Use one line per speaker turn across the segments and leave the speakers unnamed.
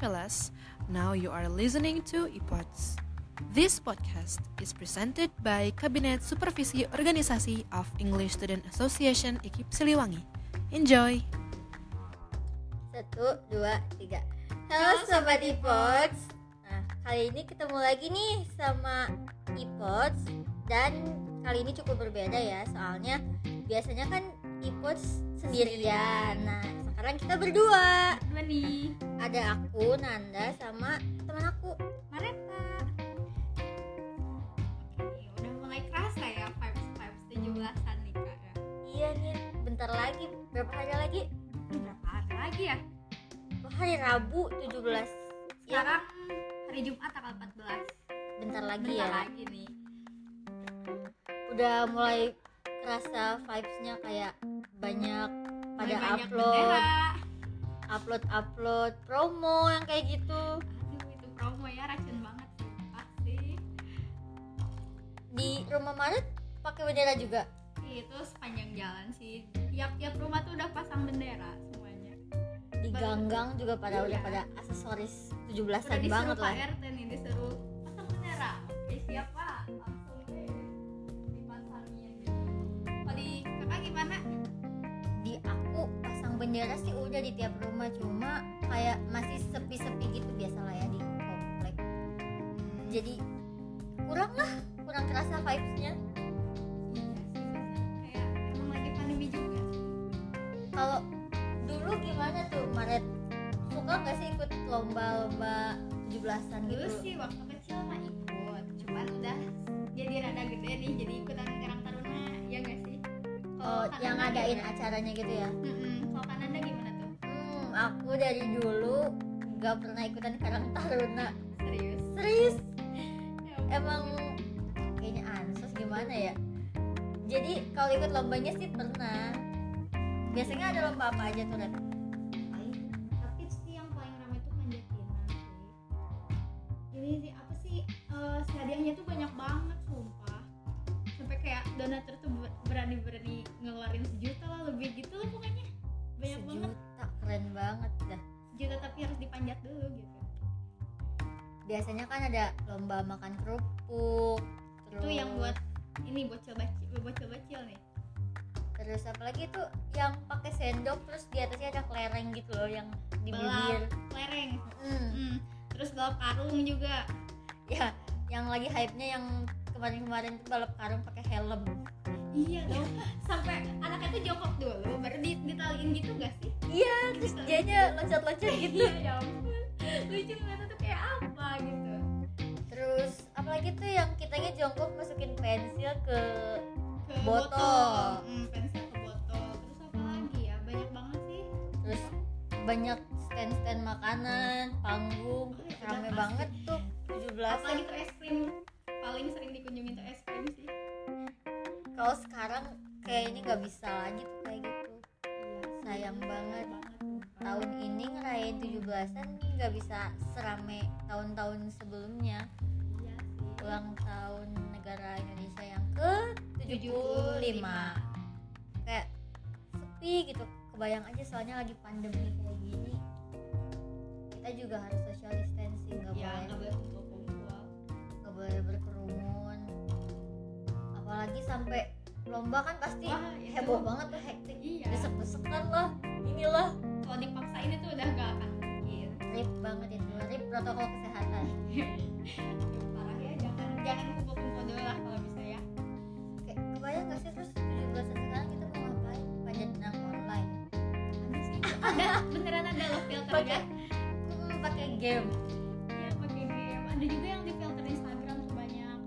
fellas. Now you are listening to iPods. This podcast is presented by Kabinet Supervisi Organisasi of English Student Association IKIP Siliwangi. Enjoy!
Satu, dua, tiga. Halo Sobat Ipods. Nah, kali ini ketemu lagi nih sama Ipods dan kali ini cukup berbeda ya soalnya biasanya kan Ipods sendirian. Nah, sekarang kita berdua.
mandi
Ada aku, Nanda sama teman aku.
Mareta Oke, udah mulai kerasa ya vibes vibes 17-an nih kak ya.
Iya nih, bentar lagi berapa hari lagi?
Udah berapa hari lagi ya
Oh, hari Rabu 17. Iya,
sekarang hari Jumat tanggal 14
bentar lagi
bentar
ya.
lagi nih
Udah mulai kerasa vibes-nya kayak banyak pada
Mulai banyak
upload.
bendera
upload upload promo yang kayak gitu
aduh itu promo ya racun banget sih pasti
di rumah Maret pakai bendera juga
itu sepanjang jalan sih tiap-tiap rumah tuh udah pasang bendera semuanya
di ganggang juga pada udah
Iya.
pada aksesoris
udah
17-an
disuruh
banget
Pak
lah
RT nih disuruh pasang bendera oke Eh, siap Pak langsung deh dipasangin kalau Oh, di kakak gimana
di aku pasang bendera sih udah di tiap rumah cuma kayak masih sepi-sepi gitu biasalah ya di komplek jadi kurang lah kurang kerasa vibes-nya
kayak emang lagi pandemi juga
kalau dulu gimana tuh Maret suka nggak sih ikut lomba-lomba 17-an
dulu
gitu
sih waktu kecil mah ikut cuman udah jadi rada gede nih jadi ikutan karang taruna ya nggak sih
oh,
Kak
yang
Nanda
ngadain
gimana?
acaranya gitu ya
Mm-mm. kalau kananda gimana tuh
Hmm, aku dari dulu gak pernah ikutan Karang Taruna.
serius
Serius,
Ya ampun.
emang kayaknya ansos gimana ya? Jadi kalau ikut lombanya sih pernah. Biasanya ada lomba apa aja tuh, Ren?
paling tapi sih yang paling ramai itu panjatina sih ini sih apa sih eh, si hadiahnya tuh banyak banget sumpah sampai kayak donatur tuh ber- berani-berani ngeluarin sejuta lah lebih gitu lah pokoknya banyak banget
Sejuta, keren banget dah.
sejuta tapi harus dipanjat dulu gitu
Biasanya kan ada lomba makan kerupuk. Terus,
itu yang buat ini bocil bacil bocil bacil nih
terus apalagi tuh yang pakai sendok terus di atasnya ada kelereng gitu loh yang di bibir.
Belak. kelereng
Hmm.
Hmm, terus balap karung juga
ya yang lagi hype-nya yang kemarin-kemarin tuh balap karung pakai helm
iya dong sampai anaknya tuh jongkok dulu baru di- ditaliin gitu gak sih
iya terus dianya loncat-loncat gitu
iya ya ampun lucu banget tuh kayak apa gitu
terus apalagi tuh yang kitanya jongkok masukin pensil ke
ke
Botol.
Hmm, pensil ke botol terus apa lagi ya banyak banget sih
terus banyak stand-stand makanan panggung
Oh, iya,
rame
pasti.
banget tuh
apalagi
17
tuh es krim paling sering dikunjungi tuh es krim sih
kalau sekarang kayaknya nggak bisa lagi tuh kayak gitu
Iya
sayang banget tahun ini ngerayain 17-an nggak bisa serame tahun-tahun sebelumnya
iya sih
ulang tahun negara Indonesia yang ke 75 kayak sepi gitu kebayang aja soalnya lagi pandemi kayak gini kita juga harus social distancing nggak
ya nggak
boleh
boleh kumpul-kumpul
nggak boleh berkerumun apalagi sampai lomba kan pasti
Wah, itu-
heboh banget tuh hektik
iya
desek-desekan lah inilah
kalau dipaksain itu udah gak akan mungkin
rip banget itu rip protokol kesehatan
parah ya jangan jangan kumpul-kumpul dulu lah kalau bisa ya
kayak kebayang gak sih terus 17 sekarang kita mau ngapain panjat pinang online
ada sih ada beneran ada loh filternya
pakai hmm, pakai game
Iya, pakai game. Ada juga yang di filter Instagram tuh banyak.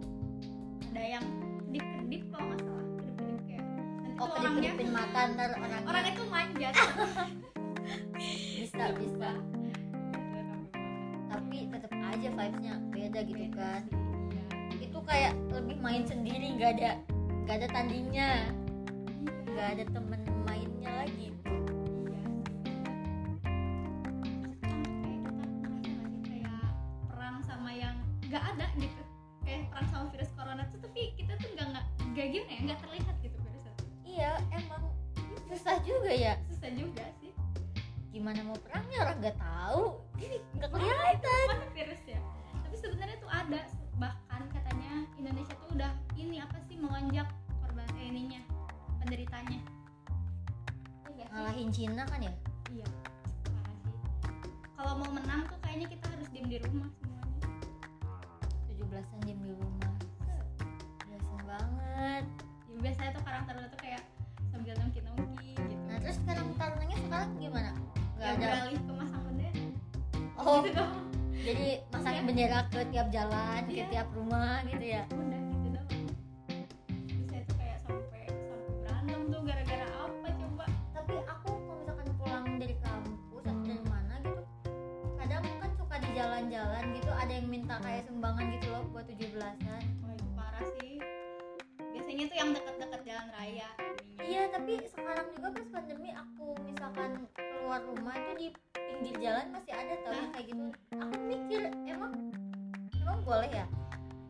Ada yang kedip-kedip kalau nggak salah. Kedip-kedip kayak. Nanti
oh
tuh orangnya
kedip-kedipin mata ntar orangnya
orang itu manjat.
bisa bisa tapi tetap aja vibesnya beda gitu kan
Iya.
itu kayak lebih main sendiri nggak ada nggak ada tandingnya nggak ada temen mainnya lagi
Iya. Terus kayak kita ngerasa nggak sih, kayak perang sama yang nggak ada gitu. Kayak perang sama virus corona tuh tapi kita tuh nggak nggak nggak gimana ya nggak terlihat gitu virusnya.
iya emang susah juga ya
Susah juga sih.
gimana mau perangnya orang nggak tahu ini nggak
Mana-
kelihatan
mana virus ya tapi sebenarnya tuh ada bahkan katanya Indonesia tuh udah ini apa sih melonjak korban eh, ininya penderitanya Iya nggak sih?
ngalahin Cina kan ya
iya parah sih kalau mau menang tuh kayaknya kita harus diem di rumah semuanya
17-an jam di rumah belasan banget
ya, biasanya tuh karang taruna tuh kayak sambil nongki nongki gitu
nah terus sekarang tarunannya sekarang gimana nggak
ya
ada
beralih ke masang bendera
oh
gitu doang
jadi
Iya.
masang bendera ke tiap jalan ke
Iya.
tiap rumah gitu ya
udah gitu doang biasanya tuh kayak sampai sampai berantem tuh gara-gara apa coba
tapi aku kalau misalkan pulang dari kampus atau dari mana gitu kadang kan suka di jalan-jalan gitu ada yang minta kayak sumbangan gitu loh buat 17-an
Wah itu parah sih. Biasanya tuh yang dekat-dekat jalan raya. ininya.
iya tapi sekarang juga pas pandemi aku misalkan keluar rumah itu di pinggir jalan masih ada tau yang kayak gitu aku mikir emang emang boleh ya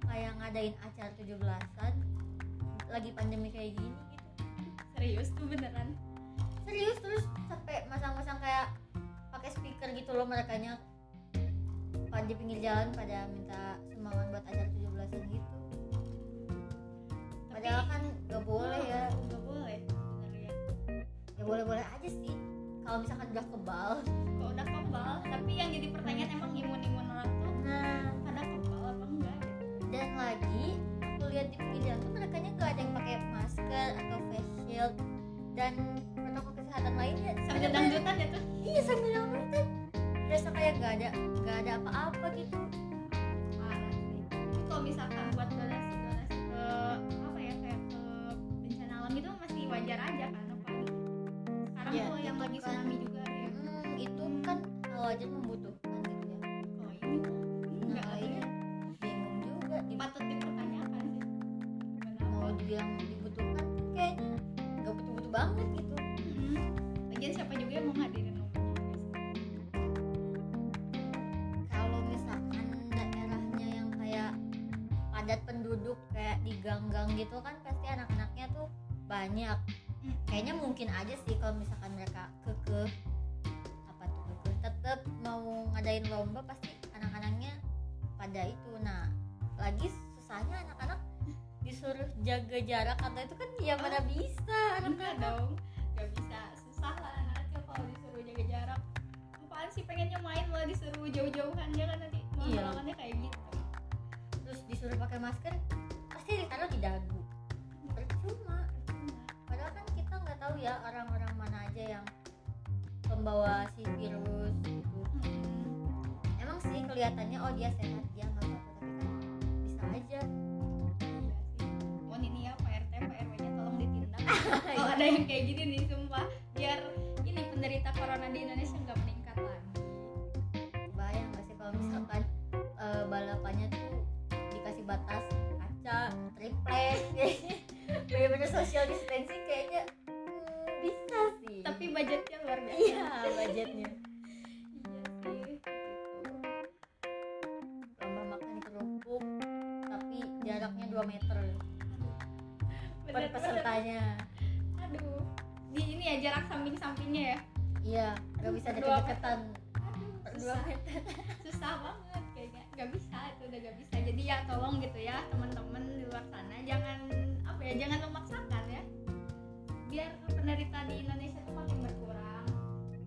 kayak ngadain acara 17-an lagi pandemi kayak gini gitu
Serius tuh beneran.
serius terus sampai masang-masang kayak pakai speaker gitu loh merekanya pada di pinggir jalan pada minta sumbangan buat acara 17-an gitu
Tapi-
padahal kan gak boleh ya
Gak boleh. Bener ya.
ya boleh-boleh aja sih kalau misalkan udah kebal
Kok udah kebal. Tapi yang jadi pertanyaan emang imun-imun orang tuh
nah
pada kebal apa enggak? gitu.
dan lagi aku lihat di pinggir jalan tuh merekanya gak ada yang pakai masker atau face shield dan protokol kesehatan lainnya
Sampai dangdutan ya tuh.
iya sambil dangdutan berasa kayak gak ada gak ada apa-apa gitu
Parah sih. Tapi kalau misalkan buat donasi-donasi ke apa ya kayak ke bencana alam itu masih wajar aja kan apalagi. Sekarang
Iya,
tuh yang
itu
lagi
kan-
tsunami juga ya. ada yang
Hmm, itu kan kalau aja membutuhkan gitu ya.
kalau ini enggak
Nah,
iya.
ini bingung juga di
patut dipertanyakan sih. Kenapa?
mau dibilang dibutuhkan kan kayaknya nggak butuh-butuh banget gitu.
Mm-mm. Lagian siapa juga yang mau hadirin lo?
Kalau misalkan daerahnya yang kayak padat penduduk kayak di gang-gang gitu kan pasti anak-anaknya tuh banyak.
Hmm.
Kayaknya mungkin aja sih kalau misalkan mereka kekeh apa tuh kekeh tetap mau ngadain lomba pasti anak-anaknya pada itu. Nah, lagi susahnya anak-anak disuruh jaga jarak atau itu kan ya mana bisa
Enggak
anak-anak
dong, gak bisa susah lah anak kecil kalau disuruh jaga jarak. Apaan sih pengennya main lo disuruh jauh-jauhan ya kan nanti
Iya.
malah kayak gitu.
terus disuruh pakai masker pasti ditaruh di dagu percuma padahal kan kita nggak tahu ya orang-orang mana aja yang pembawa si virus gitu
Mm-mm.
emang sih kelihatannya oh dia sehat dia nggak apa-apa tapi kan bisa aja
Iya sih. Mohon ini ya Pak RT, Pak RW-nya tolong ditindak.
Iya.
kalau ada yang kayak gini nih sumpah, biar ini penderita corona di Indonesia nggak meningkat lagi.
bayang nggak sih kalau misalkan eh, balapannya tuh dikasih batas kaca triplek bener-bener social distancing kayaknya hmm, bisa sih
Tapi budgetnya luar biasa.
iya budgetnya
Iya sih. Gitu.
lomba makan kerupuk tapi jaraknya 2 meter per
Bener-bener.
pesertanya
Aduh. Di ini ya jarak samping-sampingnya ya.
iya nggak bisa
Dua
deket-deketan
Aduh,
per 2
susah,
meter
susah banget kayaknya. Gak bisa itu udah gak bisa. Jadi ya tolong gitu ya teman-teman di luar sana jangan apa ya jangan memaksakan ya. Biar penderita di Indonesia tuh makin berkurang,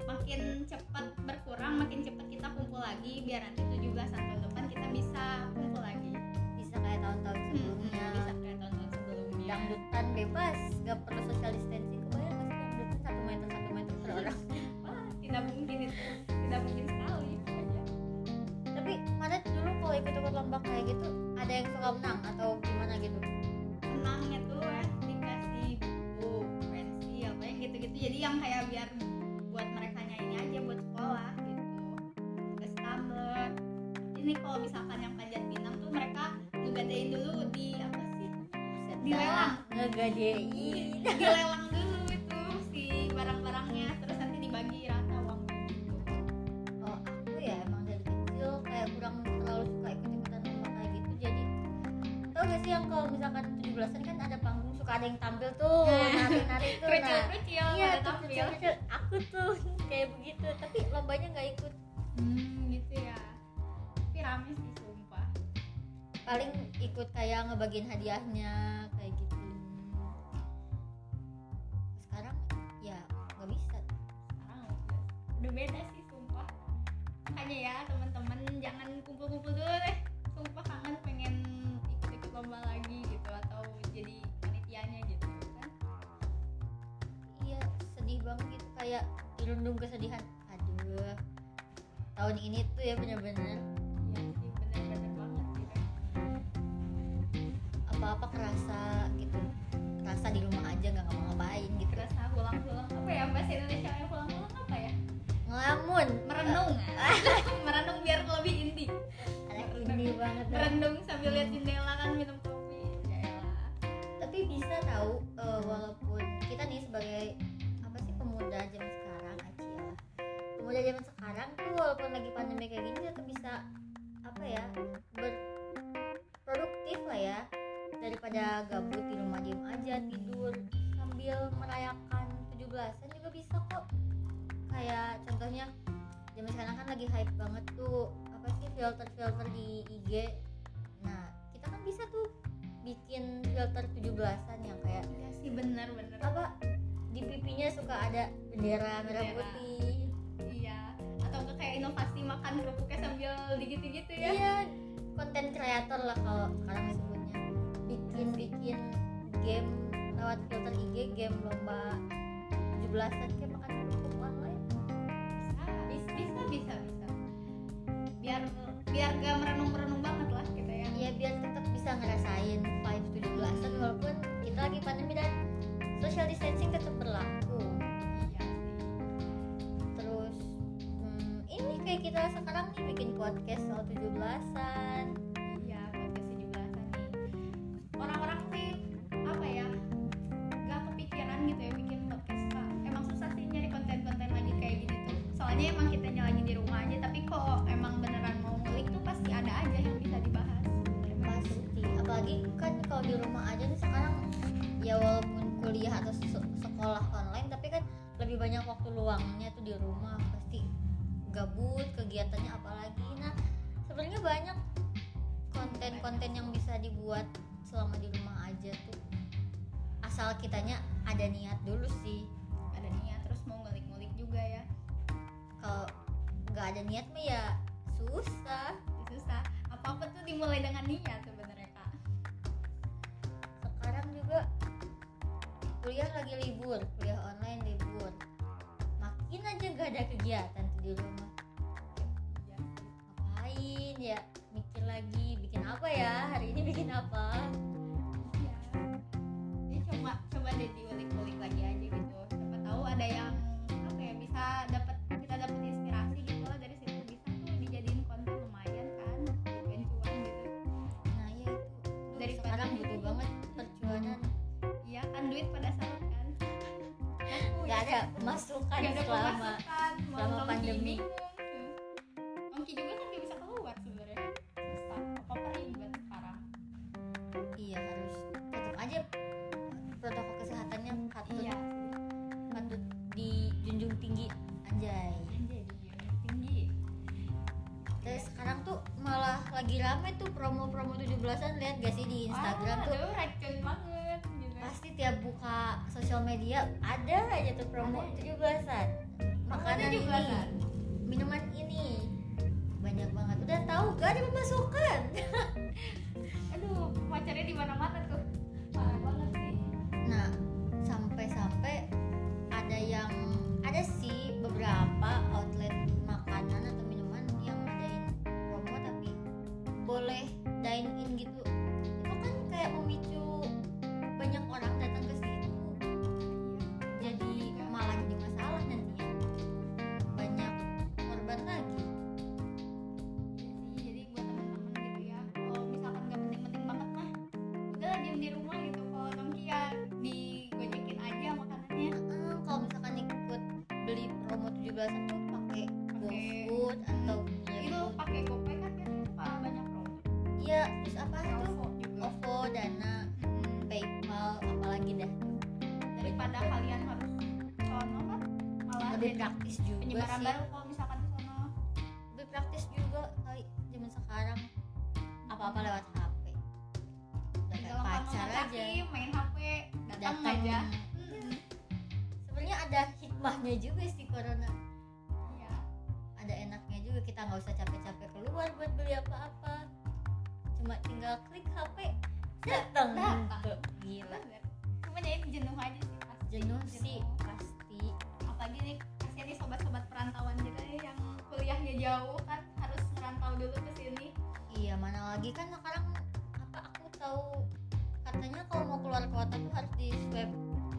makin cepat berkurang, makin cepat kita kumpul lagi biar nanti 17 tahun depan kita bisa kumpul lagi.
bisa kayak tahun-tahun
Hmm,
sebelumnya
Sebelumnya bisa kayak tahun-tahun sebelumnya.
dangdutan bebas nggak perlu social distancing kebayang nggak sih dangdutan satu meter satu meter per orang
Wah, tidak mungkin itu. Tidak mungkin sekali. Iya. Aja.
tapi mana dulu kalau ikut-ikut lomba kayak gitu ada yang suka menang atau gimana gitu
senangnya tuh ya dikasih buku pensil apa yang gitu-gitu jadi yang kayak biar buat mereka ini aja buat sekolah gitu ke tumbler ini kalau misalkan yang panjat pinang tuh mereka ngegadein dulu di apa sih
Buset dah,
Dilelang.
ngegadein
dilelang dulu itu si barang-barangnya terus nanti dibagi rata uang gitu
kalau aku ya emang dari kecil kayak kurang terlalu suka ikut-ikutan lomba kayak gitu jadi tau gak sih yang kalau misalkan 17-an kan ada panggung suka ada yang tampil tuh
Nah.
nari-nari tuh nah
kecil-kecil
iya
pada
tuh
tampil
kecil-kecil aku tuh kayak kayak begitu tapi lombanya nggak ikut
hmm gitu ya tapi rame sih sumpah
paling ikut kayak ngebagiin hadiahnya kayak gitu sekarang ya nggak bisa
sekarang udah, udah beda sih sumpah makanya ya teman-teman jangan kumpul-kumpul dulu deh sumpah kangen pengen ikut-ikut lomba lagi gitu atau jadi panitianya gitu kan
iya sedih banget gitu kayak dirundung kesedihan aduh tahun ini tuh ya bener-bener
iya sih benar-benar banget gitu
apa-apa kerasa gitu kerasa di rumah aja nggak ngapa-ngapain gitu
kerasa pulang-pulang apa ya bahasa Indonesia yang pulang-pulang apa ya
ngelamun
merenung merenung biar lebih indie
anak ini banget dah.
merenung sambil lihat jendela kan minum kopi ya elah.
tapi bisa tahu eh, walaupun kita nih sebagai apa sih pemuda zaman sekarang aja pemuda zaman sekarang tuh walaupun lagi pandemi kayak gini tetap bisa apa ya berproduktif lah ya daripada gabut di rumah diem aja tidur sambil merayakan 17-an juga bisa kok kayak contohnya zaman sekarang kan lagi hype banget tuh apa sih filter-filter di IG nah kita kan bisa tuh bikin filter 17-an yang kayak
iya sih benar-benar
apa di pipinya suka ada bendera merah
Bendera.
putih
iya atau enggak kayak inovasi makan kerupuknya sambil digigit-gitu ya
iya konten kreator lah kalau sekarang disebutnya bikin bikin game lewat filter IG game lomba 17-an kayak makan kerupuk online
bisa bisa bisa bisa biar biar gak merenung-merenung banget lah kita ya
ya biar tetap bisa ngerasain vibes 17-an walaupun kita lagi pandemi dan social distancing tetap berlaku
iya sih
terus hmm, ini kayak kita sekarang nih bikin podcast soal 17-an
Iya, podcast 17-an nih. Orang-orang sih apa ya? Gak kepikiran gitu ya bikin podcast. Kak. Emang susah sih nyari konten-konten lagi kayak gini tuh. Soalnya emang kita lagi di rumah aja, tapi kok emang beneran mau ngulik tuh pasti ada aja yang bisa dibahas. Emang
pasti apalagi kan kalau di rumah aja nih sekarang ya walaupun kuliah atau se- sekolah online tapi kan lebih banyak waktu luangnya tuh di rumah pasti gabut kegiatannya apalagi nah sebenarnya banyak konten-konten yang bisa dibuat selama di rumah aja tuh asal kitanya ada niat dulu sih
ada niat terus mau ngulik-ngulik juga ya.
kalau nggak ada niat mah ya susah
Susah. Apa-apa tuh dimulai dengan niat sebenarnya, Kak.
sekarang juga kuliah lagi libur kuliah online libur makin aja gak ada kegiatan tuh di rumah
Iya.
ngapain ya mikir lagi bikin apa ya hari ini bikin apa
Iya. Jadi coba coba deh diulik-ulik lagi aja gitu. Siapa tahu ada yang apa ya bisa dapat kita dapat inspirasi gitu lah dari situ bisa tuh dijadiin konten lumayan kan bikin cuan gitu.
nah ya itu dari
Dari
sekarang
pandemi.
butuh banget perjuangan
Iya kan duit pada saat kan.
gak ada masukan
Gak ada
Ya, kan selama
pemasukan, mau
selama
nongki
pandemi.
bingung. Nongki juga kan gak bisa keluar sebenarnya. Susah, apa-apa ribet parah.
iya harus tetap aja protokol kesehatannya patut
Iya.
patut dijunjung tinggi anjay
Anjay, dunia Iya, tinggi.
Terus sekarang tuh malah lagi rame tuh promo-promo 17-an lihat gak sih di Instagram
Wah,
tuh
aduh, racun banget gitu.
pasti tiap buka sosial media ada aja tuh promo
Ada.
17-an. Makanan
Makannya juga
ini,
kan.
minuman ini. Banyak banget. Udah tahu gak ada pemasukan.
aduh pacarnya di mana mana tuh parah banget sih
Nah, sampai-sampai ada yang ada sih beberapa outlet makanan atau minuman yang ngadain promo tapi boleh dine in gitu. Itu kan kayak memicu banyak orang datang ke situ. Jadi malah jadi masalah nantinya. Banyak korban lagi.
Iya sih, jadi buat teman-teman gitu ya kalau misalkan nggak penting-penting banget mah udahlah diem di rumah gitu kalau nongki ya digojekin aja makanannya
Eh, kalau misalkan ikut beli promo 17-an tuh pakai
Pakai- iya,
GoFood atau
itu pakai gopay kan ya parah banyak promo
Iya, terus apa tuh?
Ovo juga
OVO, Dana,
Mm-mm.
PayPal, apalagi dah.
daripada kalian harus sono kan malah
lebih praktis juga
penyebaran
sih.
baru kalau misalkan di sono
lebih praktis juga kali zaman sekarang apa-apa lewat HP udah
Tinggal
kayak pacar
ngomong
aja
kaki, main HP datang
datang
aja
Mm-mm. sebenarnya ada hikmahnya juga sih corona
Iya.
ada enaknya juga kita nggak usah capek-capek keluar buat beli apa-apa cuma tinggal klik HP datang
Datang.
gila
cuma jadi jenuh aja sih pasti
jenuh sih pasti
apalagi nih kasihan nih sobat-sobat perantauan kita nih yang kuliahnya jauh kan harus merantau dulu ke sini
iya mana lagi kan sekarang apa aku tahu katanya kalau mau keluar kota tuh harus di swab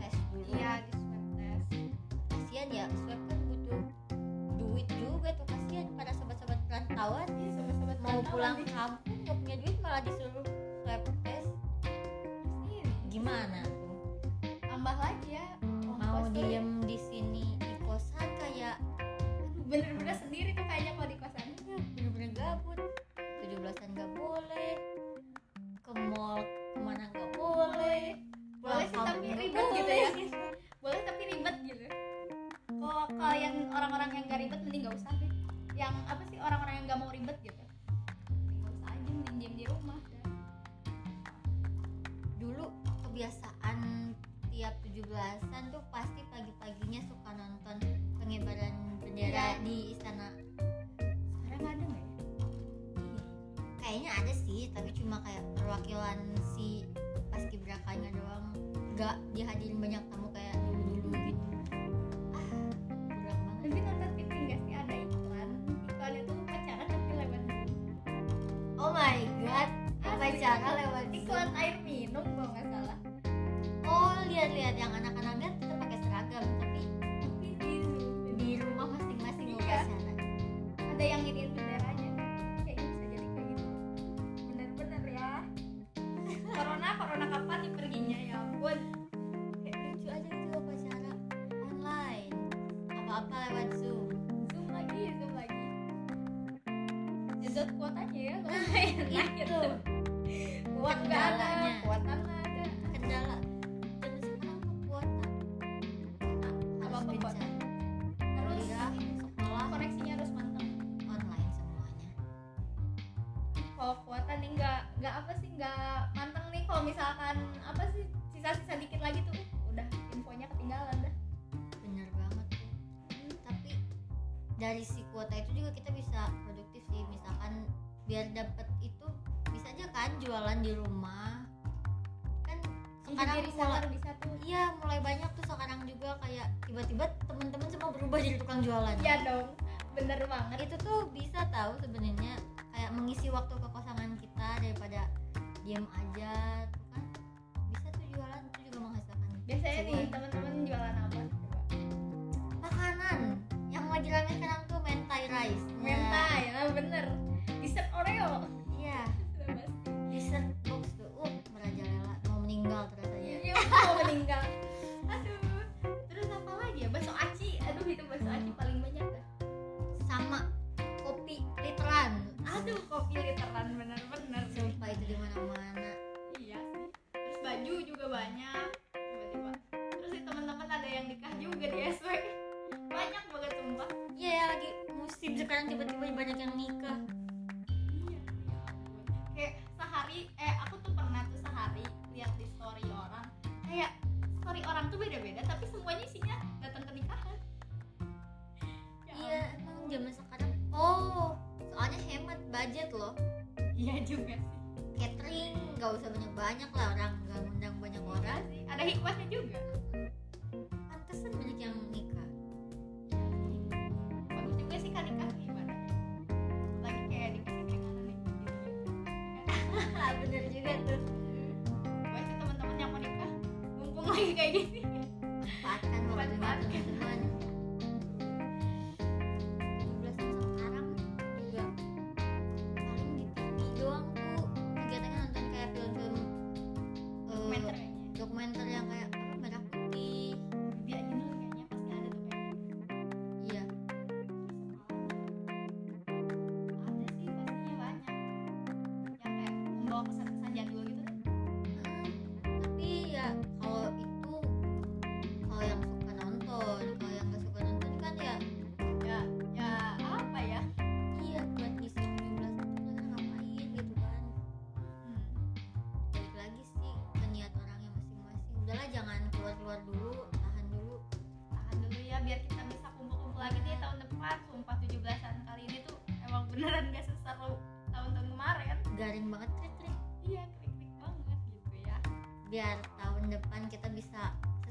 test dulu
di swab test
kasihan ya swab kan butuh duit juga tuh kasihan para sobat-sobat perantauan
Iya, sobat-sobat
mau
perantauan
pulang
nih.
kampung nggak punya duit malah disuruh swab test
Pasti ini.
gimana tuh
tambah lagi ya
mau
ongkos tuh.
diem di sini di kosan kayak
Aduh, bener-bener sendiri tuh kayaknya kalau di kosan
Iya. bener-bener gabut 17-an gak boleh ke mall kemana gak boleh
boleh sih tapi
kampung nggak
ribet gitu ya
boleh.
boleh tapi ribet gitu kalau kalian orang-orang yang gak ribet mending gak usah deh yang apa sih orang-orang yang gak mau ribet gitu mending gak usah aja mending diem di rumah
dulu kebiasaan tiap 17-an tuh pasti pagi-paginya suka nonton pengibaran bendera
Iya.
di istana
sekarang ada nggak ya
kayaknya ada sih tapi cuma kayak perwakilan si paskibrakanya doang nggak dihadirin banyak tamu kayak dulu-dulu gitu ah kurang banget
tapi nonton TV nggak sih ada iklan iklan itu pacaran tapi lewat
oh my god pacaran lewat
iklan air minum kalau nggak salah
Oh lihat-lihat yang anak-anaknya tetap pakai seragam tapi
tapi di Zoom.
di rumah masing-masing
Iya.
iya. sana.
ada yang ini benderanya kayaknya bisa jadi kayak gitu bener-bener ya corona corona kapan nih perginya ya ampun
Lucu aja gitu upacara online. Apa-apa lewat Zoom.
zoom lagi ya zoom lagi jedot kuotanya ya lumayan nah gitu
Itu
kuat nggak ada
Kendalanya.
kuota nggak ada
kendala. Zaman sekarang tuh kuota. Nah,
Apa-apa
Harus
kuota.
kencang.
terus
Kuliah, sekolah
koneksinya harus mantap
online semuanya.
kalau kuota nih nggak nggak apa sih nggak manteng nih kalau misalkan apa sih sisa-sisa dikit lagi tuh uh, udah infonya ketinggalan dah
Bener banget tuh. Tapi dari si kuota itu juga kita bisa produktif sih misalkan biar dapat itu bisa aja kan jualan di rumah kan sekarang mulai-
jadi reseller bisa tuh
Iya, mulai banyak tuh sekarang juga kayak tiba-tiba teman-teman semua berubah jadi tukang jualan.
iya dong bener banget
Itu tuh bisa tahu sebenarnya kayak mengisi waktu kekosongan kita daripada diem aja tuh kan bisa tuh jualan itu juga menghasilkan.
biasanya gitu. nih
cuan.
teman-teman jualan apa coba
makanan yang lagi rame sekarang tuh mentai rice. Nah,
mentai nah bener dessert oreo
Iya,
Udah pasti.
dessert box tuh uh, merajalela mau meninggal terasanya.
Iya, mau meninggal aduh terus apa lagi ya bakso aci aduh itu bakso aci paling banyak dah
Sama kopi literan.
aduh kopi literan bener-bener
Sumpah itu di mana-mana.
iya sih terus baju juga banyak tiba-tiba terus sih teman-teman ada yang nikah juga di SW banyak banget sumpah
Iya ya, lagi musim sekarang tiba-tiba banyak yang nikah.
iya ya ampun. kayak sehari eh aku tuh pernah tuh sehari lihat di story orang kayak story orang tuh beda-beda tapi semuanya isinya datang ke nikahan Ya
Iya emang zaman sekarang. Oh soalnya hemat budget loh.
ampun. iya juga sih
Catering nggak usah banyak banyak lah orang nggak ngundang banyak
Iya
orang.
sih ada hikmahnya juga
Pantesan banyak yang nikah.
bagus juga sih kan nikah gimana lagi kayak dikasih keringanan nih
Haha, Ah, Bener
Iya
juga
kan,
tuh.
gue sih teman-teman yang mau nikah mumpung lagi kayak gini
Manfaatkan waktunya
Manfaatkan.
teman-teman. 17 tahun sekarang juga paling di TV doang tuh kegiatannya nonton kayak film-film eh,
dokumenter kayaknya
dokumenter yang kayak apa merah putih
dia ini kayaknya pasti ada tuh gitu. kayaknya
iya
ada sih pastinya banyak yang kayak membawa kesan-kesan jadul gitu kan
tapi ya kan. kalau itu kan ya,
ya,
iya, gitu kan.
Hmm,
jangan keluar keluar dulu tahan dulu
tahan dulu ya biar kita bisa kumpul-kumpul lagi nih tahun depan sumpah 17-an kali ini tuh emang beneran gak seseru tahun-tahun kemarin
garing banget krik krik
iya krik-krik banget gitu ya
biar tahun depan kita bisa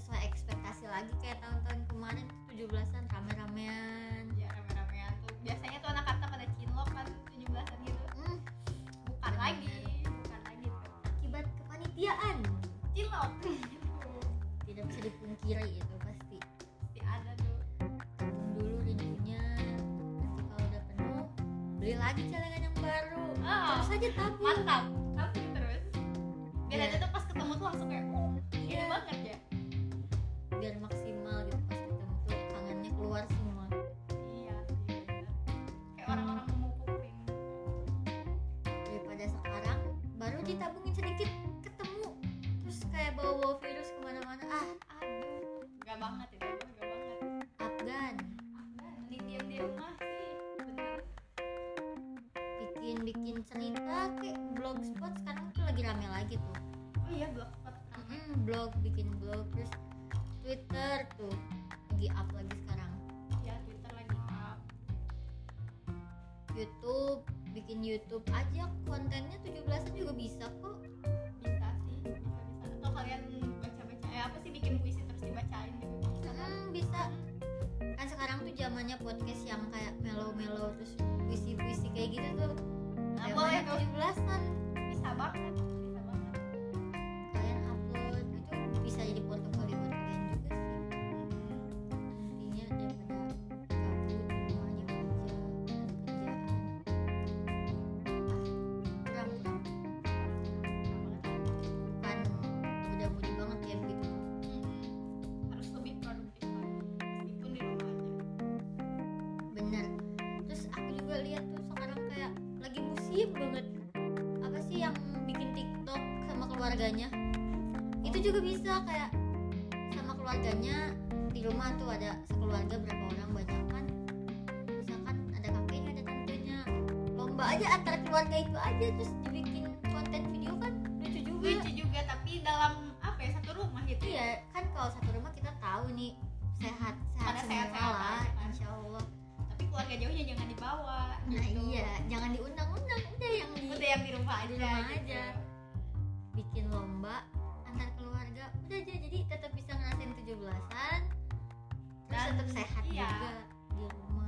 sesuai ekspektasi lagi kayak tahun-tahun kemarin tuh 17-an rame-ramean
ya rame-ramean tuh biasanya tuh anak kata pada cinlok kan 17-an gitu
Hmm,
bukan lagi bukan lagi tuh
akibat kepanitiaan
cinlok
Hmm. tidak bisa dipungkiri itu pasti
pasti ada tuh
tabung dulu rindunya nanti kalau udah penuh beli lagi celengan yang baru
Ah,
terus aja tapi
mantap tapi terus biar
Iya.
aja tuh pas ketemu tuh langsung kayak oh, gini
Iya.
banget ya
biar maksimal gitu pas ketemu tuh tangannya keluar semua
iya sih bener. kayak orang-orang memupuk rindu
daripada sekarang baru ditabungin sedikit ketemu terus kayak bawa bawa virus kemana-mana ah
aduh gak banget itu emang gak banget
Afgan
Apaan? mending diam di rumah sih bener
bikin bikin cerita ke blogspot sekarang tuh lagi rame lagi tuh
oh iya blogspot
Mm, blog bikin blog terus Twitter tuh lagi up lagi sekarang
ya twitter lagi up
YouTube bikin YouTube aja kontennya 17 juga bisa kok
bisa sih bisa bisa atau kalian baca baca eh apa sih bikin puisi terus dibacain gitu
Mm, bisa kan sekarang tuh zamannya podcast yang kayak melo-melo terus puisi-puisi kayak gitu tuh
nah, boleh
zamannya
tuh
17-an
bisa banget bisa banget
kalian upload itu bisa jadi portofolio buat kalian juga sih intinya daripada kamu di rumahnya kerja dan kerjaan ah kurang kurang bukan muda-mudi banget ya begitu
Mm-mm. Hmm. harus lebih produktif lagi meskipun di rumah aja
bener terus aku juga lihat tuh sekarang kayak lagi musim banget apa sih yang bikin tiktok sama keluarganya itu juga bisa kayak sama keluarganya di rumah tuh ada sekeluarga berapa orang banyak kan misalkan ada kakeknya ada tantenya lomba aja antara keluarga itu aja terus dibikin konten video kan lucu juga
lucu juga tapi dalam apa ya satu rumah gitu ya
iya kan kalau satu rumah kita tahu nih sehat sehat
Pada
semua
sehat-sehat
lah
aja kan.
insya Allah
tapi keluarga jauhnya jangan dibawa
Nah
gitu. Iya.
iya, jangan diundang-undang, udah yang di
udah yang di rumah aja
Di rumah
gitu.
aja. bikin lomba antar keluarga. Udah aja jadi tetap bisa ngerasain 17-an. Terus
Dan-
tetap sehat
iya.
juga di rumah.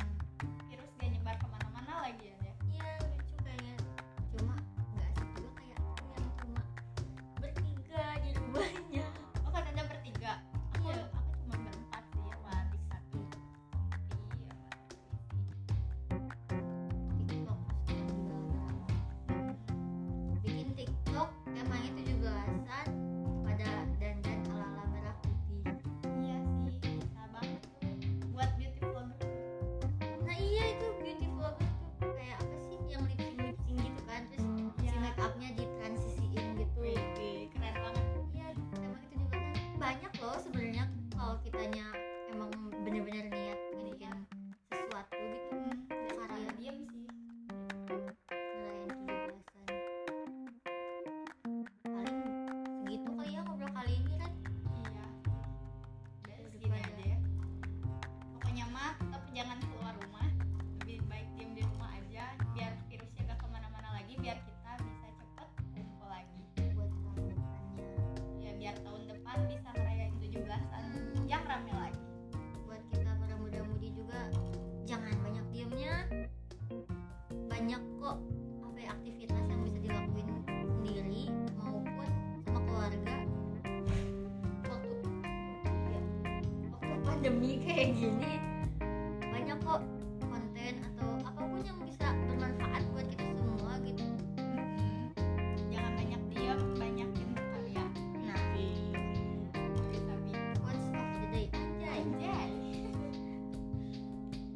virus gak nyebar kemana-mana lagi ya dia.
Iya, lucu kayaknya. Cuma nggak asik juga kayak aku yang cuma bertiga di rumahnya.
oh kan anda bertiga aku
Iya.
aku cuma berempat sih sama adik satu iya sama adik sih.
TikTok sekarang juga ramai. Bikin TikTok emangnya 17-an pada dandan ala-ala merah putih.
iya sih bisa banget tuh buat beauty vlogger
Nah iya itu beauty vlogger tuh kayak apa sih yang lip sync lip sync gitu kan terus
Iya.
si make upnya ditransisiin gitu.
Wih, wih, keren banget
Iya emang itu juga kan banyak loh sebenarnya kalau kitanya emang bener-bener niat ngedikin sesuatu gitu
hmm,
Parah.
jangan diam sih
ngerayain tujuh belasan. Paling segitu kali ya ngobrol kali ini kan.
iya dari segini
Daripada-
aja ya pokoknya mah tetap jangan keluar rumah lebih baik diam di rumah aja biar virusnya gak kemana-mana lagi biar kita bisa cepet kumpul lagi
buat tahun depannya.
ya biar tahun depan bisa ngerayain 17-an
Hmm,
yang rame lagi
buat kita para muda-mudi juga jangan banyak diemnya banyak kok apa ya, aktivitas yang bisa dilakuin sendiri maupun sama keluarga waktu ya, waktu pandemi kayak gini banyak kok konten atau apapun yang bisa bermanfaat buat kita semua gitu
jangan banyak diam banyakin berkarya
nah
Iya. bisa bisa
quotes of the day anjay
anjay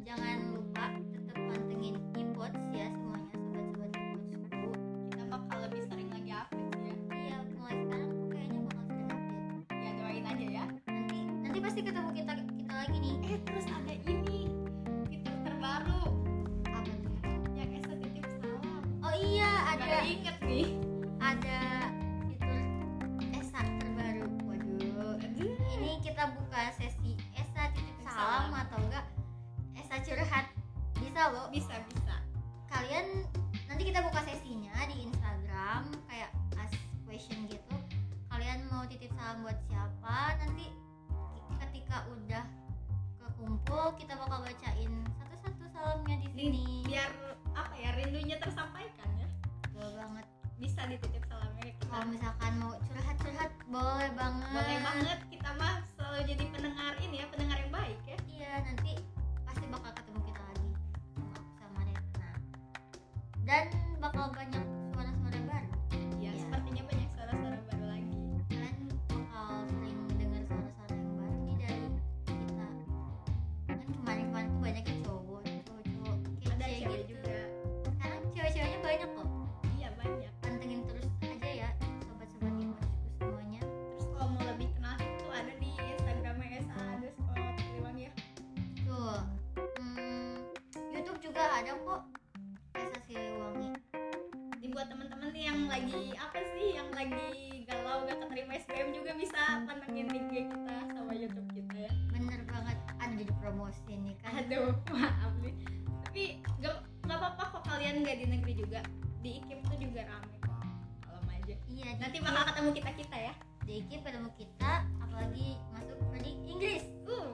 jangan lupa tetap pantengin e-pods ya semuanya sobat-sobat e-podsku
kita bakal lebih sering lagi update ya
Iya, mulai sekarang tuh kayaknya bakal sering update.
ya doain aja ya
Nanti nanti pasti ketemu kita kita lagi nih.
eh terus ada ini fitur terbaru
Apa tuh?
yang Esa titip salam
Oh iya, ada
Baru inget nih
ada fitur esak terbaru. Waduh, bisa loh
bisa bisa
kalian nanti kita buka sesinya di Instagram kayak ask question gitu kalian mau titip salam buat siapa nanti ketika udah kekumpul kita bakal bacain satu-satu salamnya di sini
biar apa ya rindunya tersampaikan ya
boleh banget
bisa dititip salamnya ke kita
kalau misalkan mau curhat-curhat boleh banget
boleh banget kita mah selalu jadi pendengar ini ya pendengar yang baik ya
iya nanti pasti bakal ketemu kita lagi sama aku sama Retna dan bakal banyak suara-suara baru
ya,
Iya.
sepertinya banyak suara-suara baru lagi
kalian bakal sering dengar suara-suara yang baru nih dari kita kan kemarin-kemarin tuh banyak yang cowok cowok
ada
kece
cewek
gitu
juga
sekarang cewek-ceweknya banyak loh
iya banyak
pantengin terus aja ya sobat-sobat impossible semuanya
terus kalau mau lebih kenal itu ada di instagramnya sa underscore Siliwangi ya
tuh hmm, YouTube juga ada kok Esa Siliwangi
Jadi buat teman-teman nih yang lagi apa sih yang lagi galau gak keterima SBM juga bisa pantengin IG kita sama YouTube kita ya.
bener banget ada jadi promosi nih kan
Aduh, maaf nih. Tapi gak, gak apa-apa kok kalian gak di negeri juga. Di IKIP tuh juga rame kok. Kalau mau aja.
iya di-
Nanti bakal ketemu kita-kita ya.
di IKIP ketemu kita apalagi masuk prodi Inggris
Uh, Iya, ya.
Ya,
Iya,